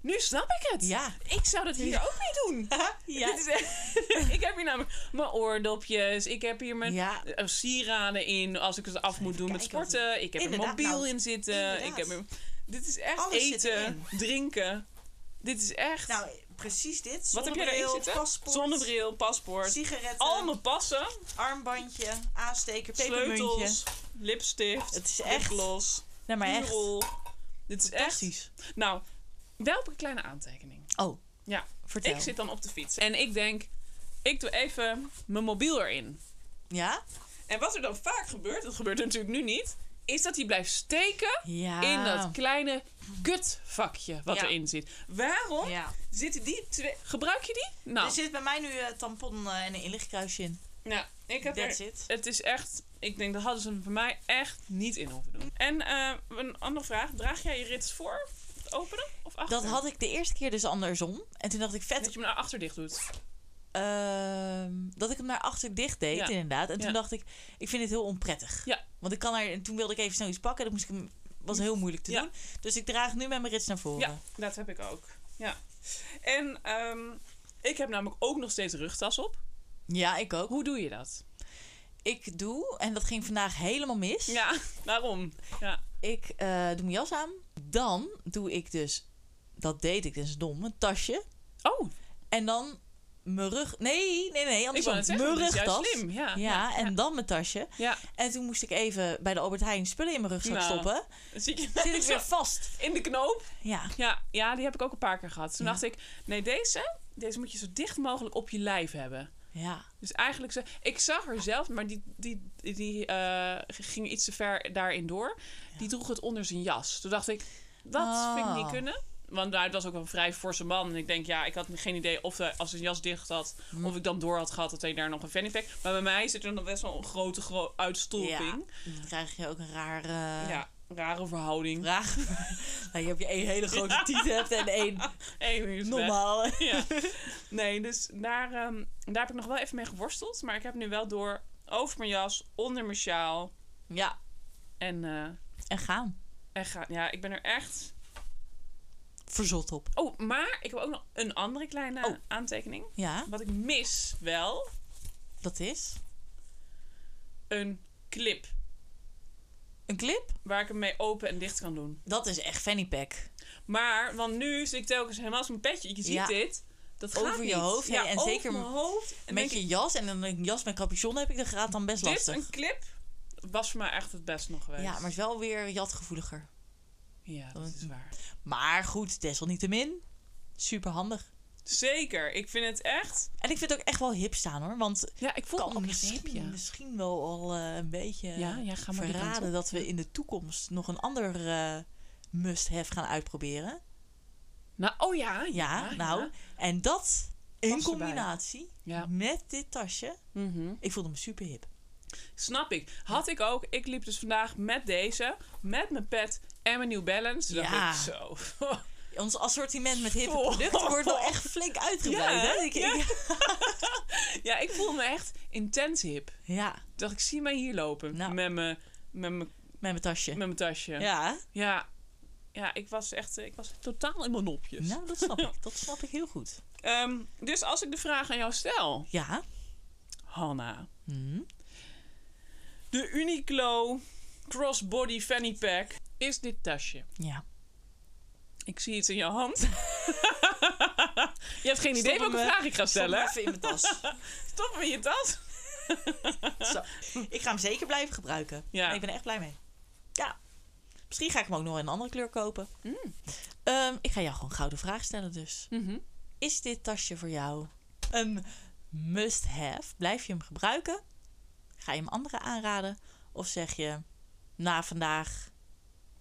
[SPEAKER 3] nu snap ik het.
[SPEAKER 1] Ja.
[SPEAKER 3] Ik zou dat hier ook niet doen.
[SPEAKER 1] Ja.
[SPEAKER 3] Dit is echt- ik heb hier namelijk mijn oordopjes. Ik heb hier mijn
[SPEAKER 1] Ja.
[SPEAKER 3] eh, sieraden in als ik het af moet doen met
[SPEAKER 1] kijken wat
[SPEAKER 3] sporten. Ik heb een
[SPEAKER 1] Inderdaad,
[SPEAKER 3] mobiel
[SPEAKER 1] nou,
[SPEAKER 3] in zitten. Ik
[SPEAKER 1] inderdaad.
[SPEAKER 3] heb een- Dit is echt
[SPEAKER 1] Alles zit
[SPEAKER 3] eten, drinken. Dit is echt...
[SPEAKER 1] Nou, precies dit.
[SPEAKER 3] Wat heb je
[SPEAKER 1] Zonnebril,
[SPEAKER 3] erin zitten?
[SPEAKER 1] paspoort,
[SPEAKER 3] Zonnebril, paspoort.
[SPEAKER 1] sigaretten,
[SPEAKER 3] Al mijn passen.
[SPEAKER 1] armbandje, aansteker,
[SPEAKER 3] Sleutels.
[SPEAKER 1] pepermuntje.
[SPEAKER 3] Lipstift.
[SPEAKER 1] Het is echt-
[SPEAKER 3] Lipgloss.
[SPEAKER 1] Nee, maar echt.
[SPEAKER 3] puurrol. Dit is echt...
[SPEAKER 1] Fantastisch.
[SPEAKER 3] Nou, wel op een kleine aantekening.
[SPEAKER 1] Oh,
[SPEAKER 3] Ja.
[SPEAKER 1] vertel.
[SPEAKER 3] Ik zit dan op de fiets. En ik denk, ik doe even mijn mobiel erin.
[SPEAKER 1] Ja?
[SPEAKER 3] En wat er dan vaak gebeurt, dat gebeurt natuurlijk nu niet, is dat hij blijft steken
[SPEAKER 1] Ja.
[SPEAKER 3] in dat kleine kutvakje wat
[SPEAKER 1] Ja.
[SPEAKER 3] erin zit. Waarom
[SPEAKER 1] Ja.
[SPEAKER 3] zitten die twee. Gebruik je die? Nou,
[SPEAKER 1] Er zit bij mij nu een tampon eh, en een inlichtkruisje in.
[SPEAKER 3] nou ik heb
[SPEAKER 1] That's
[SPEAKER 3] er,
[SPEAKER 1] it.
[SPEAKER 3] Het is echt. Ik denk dat hadden ze hem voor mij echt niet in hoeven doen. En eh, een andere vraag: draag jij je rits voor? Het openen of achter?
[SPEAKER 1] Dat had ik de eerste keer dus andersom. En toen dacht ik, vet,
[SPEAKER 3] Dat je hem naar achter dicht doet.
[SPEAKER 1] Ehm, dat ik hem naar achter dicht deed,
[SPEAKER 3] Ja.
[SPEAKER 1] inderdaad. En toen
[SPEAKER 3] Ja.
[SPEAKER 1] dacht ik, ik vind het heel onprettig.
[SPEAKER 3] Ja.
[SPEAKER 1] Want ik kan er, en toen wilde ik even snel iets pakken. Dat moest ik hem, was heel moeilijk te
[SPEAKER 3] Ja.
[SPEAKER 1] doen. Dus ik draag nu met mijn rits naar voren.
[SPEAKER 3] Ja, dat heb ik ook. Ja. En ehm, ik heb namelijk ook nog steeds rugtas op.
[SPEAKER 1] Ja, ik ook.
[SPEAKER 3] Hoe doe je dat?
[SPEAKER 1] Ik doe, en dat ging vandaag helemaal mis.
[SPEAKER 3] Ja, waarom? Ja.
[SPEAKER 1] Ik eh, doe mijn jas aan. Dan doe ik dus, dat deed ik, dat is dom, een tasje.
[SPEAKER 3] Oh,
[SPEAKER 1] En dan mijn rug... Nee, nee, nee,
[SPEAKER 3] ik wil
[SPEAKER 1] andersom.
[SPEAKER 3] het zeggen,
[SPEAKER 1] mijn
[SPEAKER 3] dat is juist
[SPEAKER 1] rugtas.
[SPEAKER 3] slim. Ja,
[SPEAKER 1] Ja, en dan mijn tasje.
[SPEAKER 3] ja.
[SPEAKER 1] En toen moest ik even bij de Albert Heijn spullen in mijn rugzak
[SPEAKER 3] Nou.
[SPEAKER 1] stoppen.
[SPEAKER 3] Dan Zit je
[SPEAKER 1] Zit ik weer vast.
[SPEAKER 3] in de knoop?
[SPEAKER 1] Ja,
[SPEAKER 3] Ja, ja, die heb ik ook een paar keer gehad. Toen
[SPEAKER 1] Ja.
[SPEAKER 3] dacht ik, nee, deze, deze moet je zo dicht mogelijk op je lijf hebben.
[SPEAKER 1] ja.
[SPEAKER 3] Dus eigenlijk, ze, ik zag er zelf, maar die, die, die eh, ging iets te ver daarin door. Die droeg het onder zijn jas. Toen dacht ik, dat vind ik niet
[SPEAKER 1] Oh.
[SPEAKER 3] kunnen. Want nou, het was ook een vrij forse man. En ik denk, ja, ik had geen idee of hij, als zijn jas dicht had...
[SPEAKER 1] Hm.
[SPEAKER 3] of ik dan door had gehad dat hij daar nog een fanny pack... Maar bij mij zit er nog best wel een grote gro- uitstulping.
[SPEAKER 1] Ja, dan krijg je ook een raar eh,
[SPEAKER 3] Ja, rare verhouding.
[SPEAKER 1] vraag. nou, je hebt je één hele grote tiet hebt en één
[SPEAKER 3] Eén is weg.
[SPEAKER 1] normale.
[SPEAKER 3] Ja. Nee, dus daar, ehm, daar heb ik nog wel even mee geworsteld. Maar ik heb nu wel door over mijn jas, onder mijn sjaal.
[SPEAKER 1] Ja,
[SPEAKER 3] En, eh,
[SPEAKER 1] en gaan.
[SPEAKER 3] en ga, ja, ik ben er echt...
[SPEAKER 1] Verzot op.
[SPEAKER 3] Oh, maar ik heb ook nog een andere kleine
[SPEAKER 1] Oh.
[SPEAKER 3] aantekening.
[SPEAKER 1] Ja,
[SPEAKER 3] Wat ik mis wel,
[SPEAKER 1] dat is.
[SPEAKER 3] een clip.
[SPEAKER 1] Een clip?
[SPEAKER 3] waar ik hem mee open en dicht kan doen.
[SPEAKER 1] Dat is echt fanny pack.
[SPEAKER 3] Maar, want nu zit ik telkens helemaal als een petje. Je ziet
[SPEAKER 1] Ja.
[SPEAKER 3] dit. Dat gaat
[SPEAKER 1] Over je
[SPEAKER 3] niet.
[SPEAKER 1] hoofd heen
[SPEAKER 3] Ja,
[SPEAKER 1] en
[SPEAKER 3] over
[SPEAKER 1] zeker
[SPEAKER 3] mijn hoofd. En denk
[SPEAKER 1] Met je jas en dan een jas met capuchon heb ik, dat gaat dan best
[SPEAKER 3] dit
[SPEAKER 1] lastig.
[SPEAKER 3] een clip was voor mij echt het best nog geweest.
[SPEAKER 1] Ja, maar het is wel weer jatgevoeliger.
[SPEAKER 3] Ja, dat
[SPEAKER 1] Dan-
[SPEAKER 3] is waar.
[SPEAKER 1] Maar goed, desalniettemin, super handig.
[SPEAKER 3] Zeker. Ik vind het echt...
[SPEAKER 1] En ik vind het ook echt wel hip staan hoor, want
[SPEAKER 3] Ja, ik voel
[SPEAKER 1] kan
[SPEAKER 3] me
[SPEAKER 1] misschien, misschien wel al eh, een beetje
[SPEAKER 3] Ja, ja, ga maar die kant
[SPEAKER 1] verraden dat we in de toekomst nog een ander eh, must-have gaan uitproberen.
[SPEAKER 3] Nou, oh ja.
[SPEAKER 1] Ja, nou,
[SPEAKER 3] Ja.
[SPEAKER 1] en dat in
[SPEAKER 3] erbij.
[SPEAKER 1] combinatie
[SPEAKER 3] Ja.
[SPEAKER 1] met dit tasje.
[SPEAKER 3] Mhm.
[SPEAKER 1] Ik voelde me super hip.
[SPEAKER 3] Snap ik. Had ik ook. Ik liep dus vandaag met deze, met mijn pet en mijn New Balance. Toen
[SPEAKER 1] Ja.
[SPEAKER 3] dacht ik zo.
[SPEAKER 1] Ons assortiment met hippe
[SPEAKER 3] Zo.
[SPEAKER 1] producten wordt wel echt flink uitgebreid.
[SPEAKER 3] Ja,
[SPEAKER 1] hè? Ik- ik-
[SPEAKER 3] ja, ik voel me echt intens hip.
[SPEAKER 1] ja,
[SPEAKER 3] Ik dacht, ik zie mij hier lopen.
[SPEAKER 1] Nou.
[SPEAKER 3] Met mijn met mijn-
[SPEAKER 1] met mijn tasje.
[SPEAKER 3] met mijn tasje.
[SPEAKER 1] Ja,
[SPEAKER 3] Ja, ja ik was echt eh, ik was totaal in mijn nopjes.
[SPEAKER 1] nou dat snap ik. Dat snap ik heel goed.
[SPEAKER 3] Ehm, dus als ik de vraag aan jou stel,
[SPEAKER 1] Ja.
[SPEAKER 3] Hanna.
[SPEAKER 1] Hm.
[SPEAKER 3] De Uniqlo Crossbody Fanny Pack is dit tasje.
[SPEAKER 1] Ja.
[SPEAKER 3] Ik zie iets in jouw hand. je hebt geen idee
[SPEAKER 1] Stop hem,
[SPEAKER 3] welke
[SPEAKER 1] eh,
[SPEAKER 3] vraag ik ga
[SPEAKER 1] Stop hem
[SPEAKER 3] stellen.
[SPEAKER 1] even in mijn tas.
[SPEAKER 3] Stop hem in je tas.
[SPEAKER 1] Zo. Ik ga hem zeker blijven gebruiken.
[SPEAKER 3] Ja.
[SPEAKER 1] Ik ben er echt blij mee. Ja. Misschien ga ik hem ook nog in een andere kleur kopen.
[SPEAKER 3] Mm.
[SPEAKER 1] Ehm, ik ga jou gewoon een gouden vraag stellen dus. Is dit tasje voor jou een must-have? Blijf je hem gebruiken? Ga je hem anderen aanraden? Of zeg je, na vandaag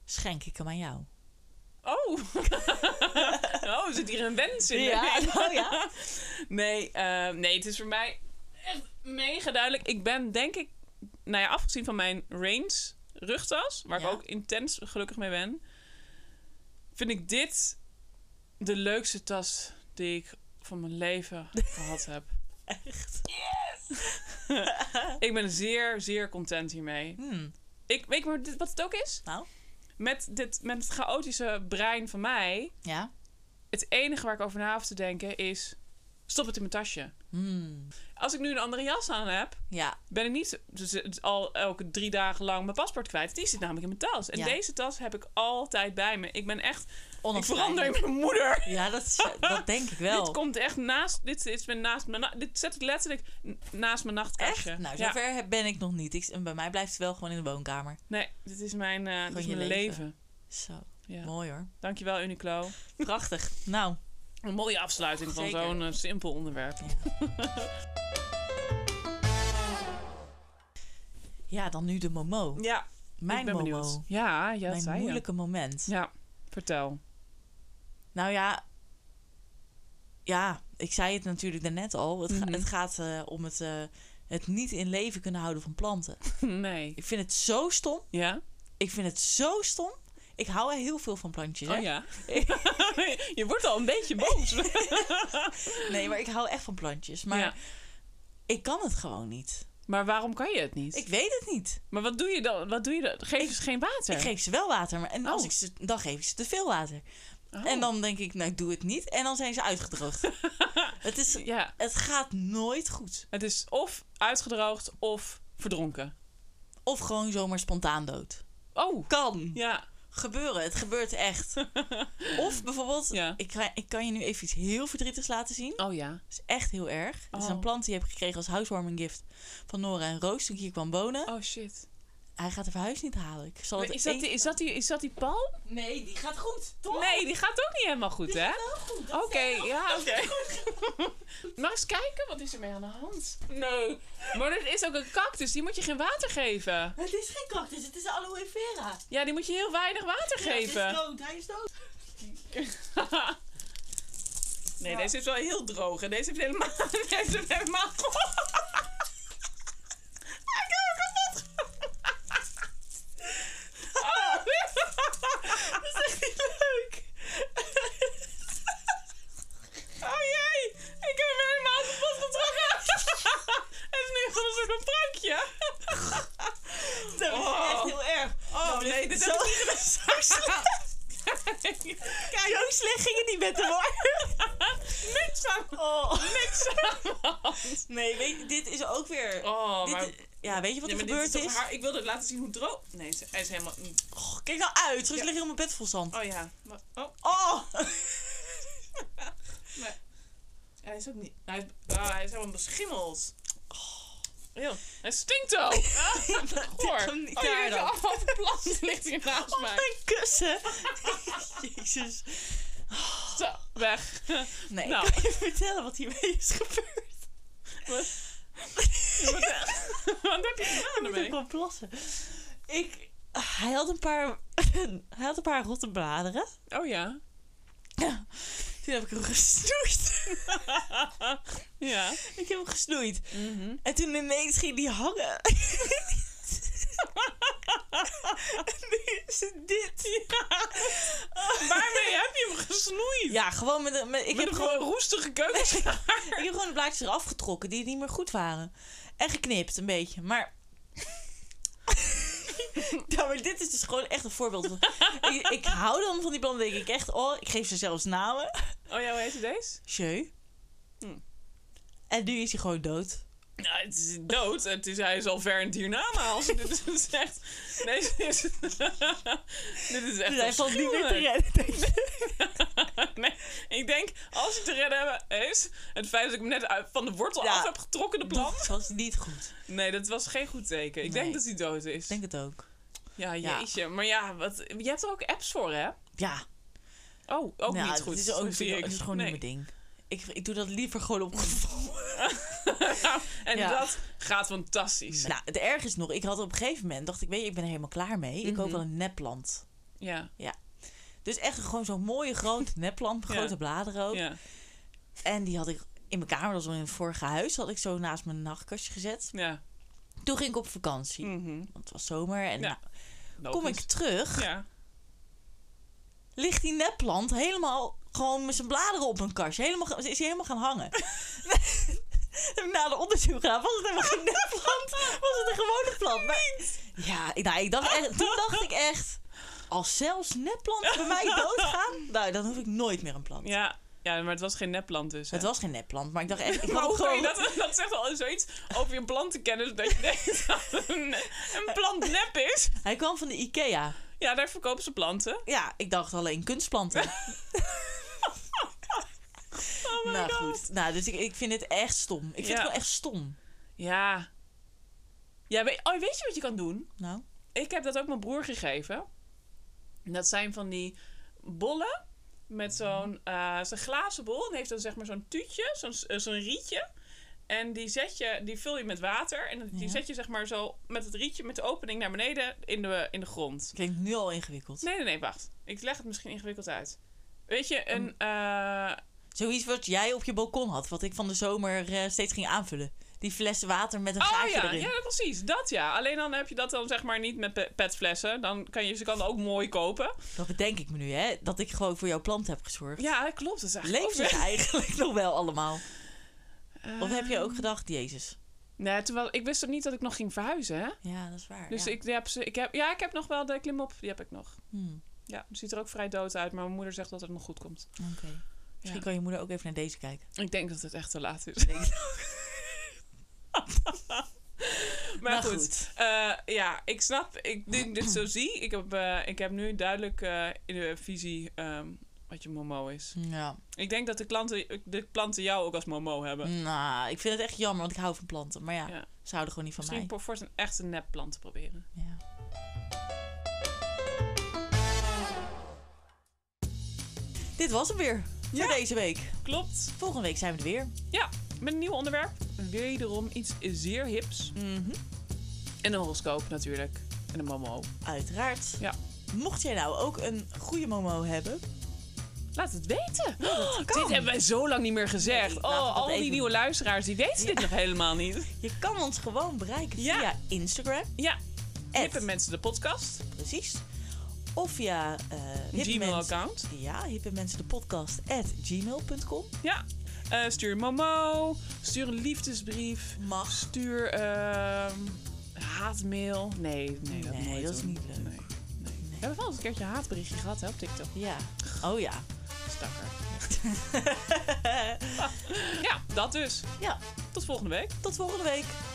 [SPEAKER 1] schenk ik hem aan jou?
[SPEAKER 3] Oh. oh, er zit hier een wens in.
[SPEAKER 1] nou ja.
[SPEAKER 3] Nee, eh, nee, het is voor mij echt mega duidelijk. Ik ben denk ik, nou ja, afgezien van mijn range rugtas, waar
[SPEAKER 1] Ja.
[SPEAKER 3] ik ook intens gelukkig mee ben, vind ik dit de leukste tas die ik van mijn leven gehad heb.
[SPEAKER 1] Echt.
[SPEAKER 3] Ik ben zeer, zeer content hiermee.
[SPEAKER 1] Hmm.
[SPEAKER 3] Ik weet maar dit- wat het ook is.
[SPEAKER 1] Nou,
[SPEAKER 3] Met, dit, met het chaotische brein van mij,
[SPEAKER 1] ja.
[SPEAKER 3] het enige waar ik over na hoef te denken is: stop het in mijn tasje.
[SPEAKER 1] Hmm.
[SPEAKER 3] Als ik nu een andere jas aan heb,
[SPEAKER 1] Ja,
[SPEAKER 3] ben ik niet dus het- al elke drie dagen lang mijn paspoort kwijt. Die zit namelijk in mijn tas. En
[SPEAKER 1] Ja.
[SPEAKER 3] deze tas heb ik altijd bij me. Ik ben echt. Ik verander in
[SPEAKER 1] onafscheidelijk.
[SPEAKER 3] mijn moeder.
[SPEAKER 1] Ja, dat, is- dat denk ik wel.
[SPEAKER 3] Dit komt echt naast. Dit is mijn naast mijn. na- Dit zet ik letterlijk n- naast mijn nachtkastje.
[SPEAKER 1] Echt? Nou,
[SPEAKER 3] Ja.
[SPEAKER 1] zover heb- ben ik nog niet. Ik, en bij mij blijft het wel gewoon in de woonkamer.
[SPEAKER 3] Nee, dit is mijn, eh, dit is
[SPEAKER 1] je
[SPEAKER 3] mijn leven.
[SPEAKER 1] Zo,
[SPEAKER 3] Ja.
[SPEAKER 1] mooi hoor.
[SPEAKER 3] Dankjewel, Uniqlo.
[SPEAKER 1] Prachtig. Nou,
[SPEAKER 3] Een mooie afsluiting van
[SPEAKER 1] Zeker.
[SPEAKER 3] zo'n eh, simpel onderwerp.
[SPEAKER 1] ja, dan nu de Momo.
[SPEAKER 3] Ja,
[SPEAKER 1] Mijn
[SPEAKER 3] ik ben
[SPEAKER 1] Momo.
[SPEAKER 3] benieuwd. Ja, ja, dat
[SPEAKER 1] Mijn
[SPEAKER 3] zei je.
[SPEAKER 1] moeilijke moment.
[SPEAKER 3] Ja, vertel.
[SPEAKER 1] Nou ja, ja, ik zei het natuurlijk daarnet al. Het, ga-
[SPEAKER 3] Mhm.
[SPEAKER 1] het gaat eh, om het, eh, het niet in leven kunnen houden van planten.
[SPEAKER 3] nee.
[SPEAKER 1] Ik vind het zo stom.
[SPEAKER 3] Ja?
[SPEAKER 1] Ik vind het zo stom. Ik hou er heel veel van plantjes. hè.
[SPEAKER 3] Oh ja. je wordt al een beetje boos.
[SPEAKER 1] Nee, maar ik hou echt van plantjes. Maar
[SPEAKER 3] Ja.
[SPEAKER 1] ik kan het gewoon niet.
[SPEAKER 3] Maar waarom kan je het niet?
[SPEAKER 1] Ik weet het niet.
[SPEAKER 3] Maar wat doe je dan? Wat doe je dan? Geef
[SPEAKER 1] Ik-
[SPEAKER 3] ze geen water.
[SPEAKER 1] Ik geef ze wel water, maar en als
[SPEAKER 3] Oh.
[SPEAKER 1] ik ze, dan geef ik ze te veel water.
[SPEAKER 3] Oh.
[SPEAKER 1] En dan denk ik, nou, ik doe het niet. En dan zijn ze uitgedroogd. het, is,
[SPEAKER 3] Ja,
[SPEAKER 1] het gaat nooit goed.
[SPEAKER 3] het is of uitgedroogd of verdronken.
[SPEAKER 1] Of gewoon zomaar spontaan dood.
[SPEAKER 3] Oh,
[SPEAKER 1] Kan
[SPEAKER 3] ja.
[SPEAKER 1] gebeuren. Het gebeurt echt. of bijvoorbeeld,
[SPEAKER 3] Ja.
[SPEAKER 1] ik, ga, ik kan je nu even iets heel verdrietigs laten zien.
[SPEAKER 3] Oh ja.
[SPEAKER 1] Dat is echt heel erg. Het is
[SPEAKER 3] Oh.
[SPEAKER 1] een plant die ik heb gekregen als housewarming gift van Nora en Roos toen ik hier kwam wonen.
[SPEAKER 3] Oh shit.
[SPEAKER 1] Hij gaat haar verhuis niet halen. Ik zal
[SPEAKER 3] Maar
[SPEAKER 1] het
[SPEAKER 3] Is dat,
[SPEAKER 1] één-
[SPEAKER 3] die, is, dat die, is dat die palm?
[SPEAKER 1] Nee, die gaat goed, toch?
[SPEAKER 3] Nee, die gaat ook niet helemaal goed, hè? Oké, ja, oké. maar eens kijken, wat is er mee aan de hand? Nee. Maar dit is ook een cactus, die moet je geen water geven.
[SPEAKER 1] Het is geen cactus, het is aloe vera.
[SPEAKER 3] Ja, die moet je heel weinig water geven.
[SPEAKER 1] dood, hij is dood.
[SPEAKER 3] nee, deze is wel heel droog. En deze heeft helemaal... Deze heeft helemaal... Ik heb hem kapot gemaakt. Oh, Dat is echt niet leuk. Oh jee, ik heb hem helemaal kapot getrokken. Het is nu gewoon een soort prankje.
[SPEAKER 1] Dat is echt heel erg. Nou, dus
[SPEAKER 3] Oh nee, dit is
[SPEAKER 1] zo, zo slecht. Kijk, zo slecht ging het niet met de war.
[SPEAKER 3] niks aan.
[SPEAKER 1] Oh.
[SPEAKER 3] Niks aan. hand.
[SPEAKER 1] Nee, weet je, dit is ook weer...
[SPEAKER 3] Oh,
[SPEAKER 1] dit-
[SPEAKER 3] maar...
[SPEAKER 1] ja, weet je wat
[SPEAKER 3] Nee,
[SPEAKER 1] er
[SPEAKER 3] maar dit
[SPEAKER 1] gebeurd
[SPEAKER 3] is
[SPEAKER 1] is?
[SPEAKER 3] toch haar... Ik wilde het laten zien hoe droog... Nee, ze- hij is helemaal...
[SPEAKER 1] Och, kijk nou uit, terug
[SPEAKER 3] Ja.
[SPEAKER 1] ligt helemaal bed vol zand.
[SPEAKER 3] Oh ja. Maar... Oh,
[SPEAKER 1] Oh!
[SPEAKER 3] hij is ook niet... Hij is, ah, hij is helemaal beschimmeld. Heel. Hij stinkt ook. Ah,
[SPEAKER 1] Oh. Dit
[SPEAKER 3] goor.
[SPEAKER 1] hem niet
[SPEAKER 3] Oh, hier
[SPEAKER 1] daar
[SPEAKER 3] is een
[SPEAKER 1] dan.
[SPEAKER 3] afval verplast. ligt hier naast
[SPEAKER 1] Oh,
[SPEAKER 3] mij.
[SPEAKER 1] mijn kussen! Jezus.
[SPEAKER 3] Zo, weg.
[SPEAKER 1] Nee,
[SPEAKER 3] Nou.
[SPEAKER 1] ik kan je vertellen wat hiermee is gebeurd.
[SPEAKER 3] Wat wat heb je
[SPEAKER 1] Ik
[SPEAKER 3] gedaan
[SPEAKER 1] moet ook
[SPEAKER 3] ermee?
[SPEAKER 1] wel plassen. Ik... Hij had een paar... Hij had een paar rotte bladeren.
[SPEAKER 3] Oh ja.
[SPEAKER 1] Toen heb ik hem gesnoeid.
[SPEAKER 3] Ja.
[SPEAKER 1] ik heb hem gesnoeid.
[SPEAKER 3] Mhm.
[SPEAKER 1] En toen ineens ging die hangen. En nu is het dit.
[SPEAKER 3] Waarmee heb je hem gesnoeid?
[SPEAKER 1] Ja, gewoon met... een- met ik,
[SPEAKER 3] Met
[SPEAKER 1] heb
[SPEAKER 3] een
[SPEAKER 1] gewoon,
[SPEAKER 3] roestige keukenschaar.
[SPEAKER 1] ik heb gewoon de blaadjes eraf getrokken die niet meer goed waren. En geknipt, een beetje. Maar... Ja, maar dit is dus gewoon echt een voorbeeld. van- ik, ik hou dan van die planten, denk ik echt. Oh, ik geef ze zelfs namen.
[SPEAKER 3] Oh ja, hoe heet deze?
[SPEAKER 1] Sjeu.
[SPEAKER 3] Hm.
[SPEAKER 1] En nu is hij gewoon dood.
[SPEAKER 3] Nou, het is dood. Het is, hij is al ver in het hiernamaals. dit is echt... Nee, dit is... dit is echt
[SPEAKER 1] Dus hij valt niet meer te
[SPEAKER 3] afschuwelijk.
[SPEAKER 1] redden. denk ik.
[SPEAKER 3] nee, ik denk, als ik te redden heb, is het feit dat ik hem net uit- van de wortel
[SPEAKER 1] Ja.
[SPEAKER 3] af heb getrokken, de plant.
[SPEAKER 1] Dat was niet goed.
[SPEAKER 3] Nee, dat was geen goed teken. Ik
[SPEAKER 1] Nee.
[SPEAKER 3] denk dat hij dood is.
[SPEAKER 1] Ik denk het ook.
[SPEAKER 3] Ja,
[SPEAKER 1] Ja.
[SPEAKER 3] jeetje. Maar ja, wat, je hebt er ook apps voor, hè?
[SPEAKER 1] Ja,
[SPEAKER 3] Oh, ook
[SPEAKER 1] nou,
[SPEAKER 3] niet goed.
[SPEAKER 1] Het is, ook,
[SPEAKER 3] zie ik.
[SPEAKER 1] het is gewoon
[SPEAKER 3] Nee.
[SPEAKER 1] niet mijn ding. Ik, ik doe dat liever gewoon op gevoel.
[SPEAKER 3] en
[SPEAKER 1] Ja.
[SPEAKER 3] dat gaat fantastisch.
[SPEAKER 1] nou, het erg is nog, ik had op een gegeven moment, dacht ik, weet je, ik ben er helemaal klaar mee. Ik
[SPEAKER 3] Mhm.
[SPEAKER 1] koop wel een nepplant.
[SPEAKER 3] Ja.
[SPEAKER 1] Dus echt gewoon zo'n mooie grote nepplant,
[SPEAKER 3] Ja.
[SPEAKER 1] grote bladeren ook.
[SPEAKER 3] Ja.
[SPEAKER 1] En die had ik in mijn kamer, dat was al in het vorige huis, had ik zo naast mijn nachtkastje gezet.
[SPEAKER 3] ja.
[SPEAKER 1] Toen ging ik op vakantie,
[SPEAKER 3] Mhm.
[SPEAKER 1] want het was zomer. En
[SPEAKER 3] Ja,
[SPEAKER 1] nou, kom ik
[SPEAKER 3] Logisch.
[SPEAKER 1] terug,
[SPEAKER 3] Ja.
[SPEAKER 1] ligt die nepplant helemaal gewoon met zijn bladeren op een kastje. Helemaal, ga- is hij helemaal gaan hangen. Heb ik Na de onderzoek gedaan, was het helemaal geen nepplant? Was het een gewone plant? Maar, ja, ik, nou, ik dacht echt, toen dacht ik echt... Als zelfs nepplanten bij mij doodgaan, nou, dan hoef ik nooit meer een plant.
[SPEAKER 3] ja. Ja, maar het was geen nepplant dus. hè?
[SPEAKER 1] Het was geen nepplant, maar ik dacht echt... Ik
[SPEAKER 3] Maar
[SPEAKER 1] wou
[SPEAKER 3] hoe kan je
[SPEAKER 1] gewoon...
[SPEAKER 3] dat, dat zegt al zoiets over je plantenkennis. Dat je denkt dat een, een plant nep is.
[SPEAKER 1] Hij kwam van de Ikea.
[SPEAKER 3] Ja, daar verkopen ze planten.
[SPEAKER 1] Ja, ik dacht alleen kunstplanten.
[SPEAKER 3] Oh my
[SPEAKER 1] nou
[SPEAKER 3] God.
[SPEAKER 1] goed, nou, dus ik, ik vind het echt stom. Ik vind
[SPEAKER 3] Ja.
[SPEAKER 1] het wel echt stom.
[SPEAKER 3] Ja. Ja, weet, oh, weet je wat je kan doen?
[SPEAKER 1] Nou,
[SPEAKER 3] Ik heb dat ook mijn broer gegeven. Dat zijn van die bollen met zo'n eh, zo'n glazen bol. En heeft dan zeg maar zo'n tuutje, zo'n eh, zo'n rietje. En die, zet je, die vul je met water. En die
[SPEAKER 1] Ja.
[SPEAKER 3] zet je zeg maar zo met het rietje, met de opening naar beneden in de, in de grond.
[SPEAKER 1] klinkt nu al ingewikkeld.
[SPEAKER 3] Nee, nee, nee, wacht. Ik leg het misschien ingewikkeld uit. Weet je, een... eh,
[SPEAKER 1] Zoiets wat jij op je balkon had, wat ik van de zomer eh, steeds ging aanvullen. Die fles water met een
[SPEAKER 3] oh
[SPEAKER 1] gaatje
[SPEAKER 3] ja,
[SPEAKER 1] erin.
[SPEAKER 3] ja, precies. Dat ja. Alleen dan heb je dat dan zeg maar niet met pe- petflessen. Dan kan je ze kan ook mooi kopen.
[SPEAKER 1] Dat bedenk ik me nu, hè? Dat ik gewoon voor jouw plant heb gezorgd.
[SPEAKER 3] Ja, dat klopt. Dat is eigenlijk
[SPEAKER 1] Leeft
[SPEAKER 3] ook
[SPEAKER 1] het
[SPEAKER 3] weer-
[SPEAKER 1] eigenlijk nog wel allemaal? Of heb je
[SPEAKER 3] Eh,
[SPEAKER 1] ook gedacht, Jezus?
[SPEAKER 3] Nee, terwijl ik wist ook niet dat ik nog ging verhuizen, hè?
[SPEAKER 1] Ja, dat is waar.
[SPEAKER 3] Dus
[SPEAKER 1] Ah, ja.
[SPEAKER 3] ik heb ze. Ik heb, ja, ik heb nog wel de klimop. Die heb ik nog.
[SPEAKER 1] Hmm,
[SPEAKER 3] Ja, ziet er ook vrij dood uit. Maar mijn moeder zegt dat het nog goed komt.
[SPEAKER 1] Oké. Misschien kan je moeder ook even naar deze kijken.
[SPEAKER 3] Ik denk dat het echt te laat is. maar
[SPEAKER 1] Nou,
[SPEAKER 3] goed. Eh, ja, ik snap. Ik, nu ik dit zo zie, ik heb, eh, ik heb nu duidelijk eh, in de visie ehm, wat je momo is.
[SPEAKER 1] Ja.
[SPEAKER 3] Ik denk dat de klanten, de klanten jou ook als momo hebben.
[SPEAKER 1] Nou, ik vind het echt jammer, want ik hou van planten. Maar ja,
[SPEAKER 3] Ja.
[SPEAKER 1] ze houden gewoon niet van
[SPEAKER 3] Misschien
[SPEAKER 1] mij.
[SPEAKER 3] voor voor een echte nepplant te proberen.
[SPEAKER 1] Ja. Dit was hem weer
[SPEAKER 3] Ja.
[SPEAKER 1] voor deze week.
[SPEAKER 3] Klopt.
[SPEAKER 1] Volgende week zijn we er weer.
[SPEAKER 3] Ja, met een nieuw onderwerp. Wederom iets zeer hips. En een horoscoop natuurlijk. En een momo.
[SPEAKER 1] Uiteraard.
[SPEAKER 3] Ja.
[SPEAKER 1] Mocht jij nou ook een goede momo hebben,
[SPEAKER 3] Laat het weten.
[SPEAKER 1] Oh, kan.
[SPEAKER 3] Dit hebben wij zo lang niet meer gezegd.
[SPEAKER 1] Nee, laten we
[SPEAKER 3] oh,
[SPEAKER 1] dat
[SPEAKER 3] al die
[SPEAKER 1] even-
[SPEAKER 3] nieuwe luisteraars, die weten dit nog helemaal niet.
[SPEAKER 1] je kan ons gewoon bereiken
[SPEAKER 3] Ja.
[SPEAKER 1] via Instagram.
[SPEAKER 3] Ja,
[SPEAKER 1] at-
[SPEAKER 3] hippe mensen de podcast.
[SPEAKER 1] Precies. Of via eh hippe mensen-
[SPEAKER 3] Gmail-account.
[SPEAKER 1] Ja, hippe mensen de podcast at gmail.com.
[SPEAKER 3] Ja. Eh, stuur een momo. Stuur een liefdesbrief.
[SPEAKER 1] Mag.
[SPEAKER 3] Stuur ehm, haatmail. Nee, nee, dat,
[SPEAKER 1] Nee,
[SPEAKER 3] nooit
[SPEAKER 1] dat is
[SPEAKER 3] doen.
[SPEAKER 1] niet leuk.
[SPEAKER 3] Nee, nee. We hebben wel eens een keertje een haatberichtje gehad hè, op TikTok.
[SPEAKER 1] Ja. Oh ja.
[SPEAKER 3] Stakker. ja, dat dus.
[SPEAKER 1] Ja,
[SPEAKER 3] Tot volgende week.
[SPEAKER 1] tot volgende week.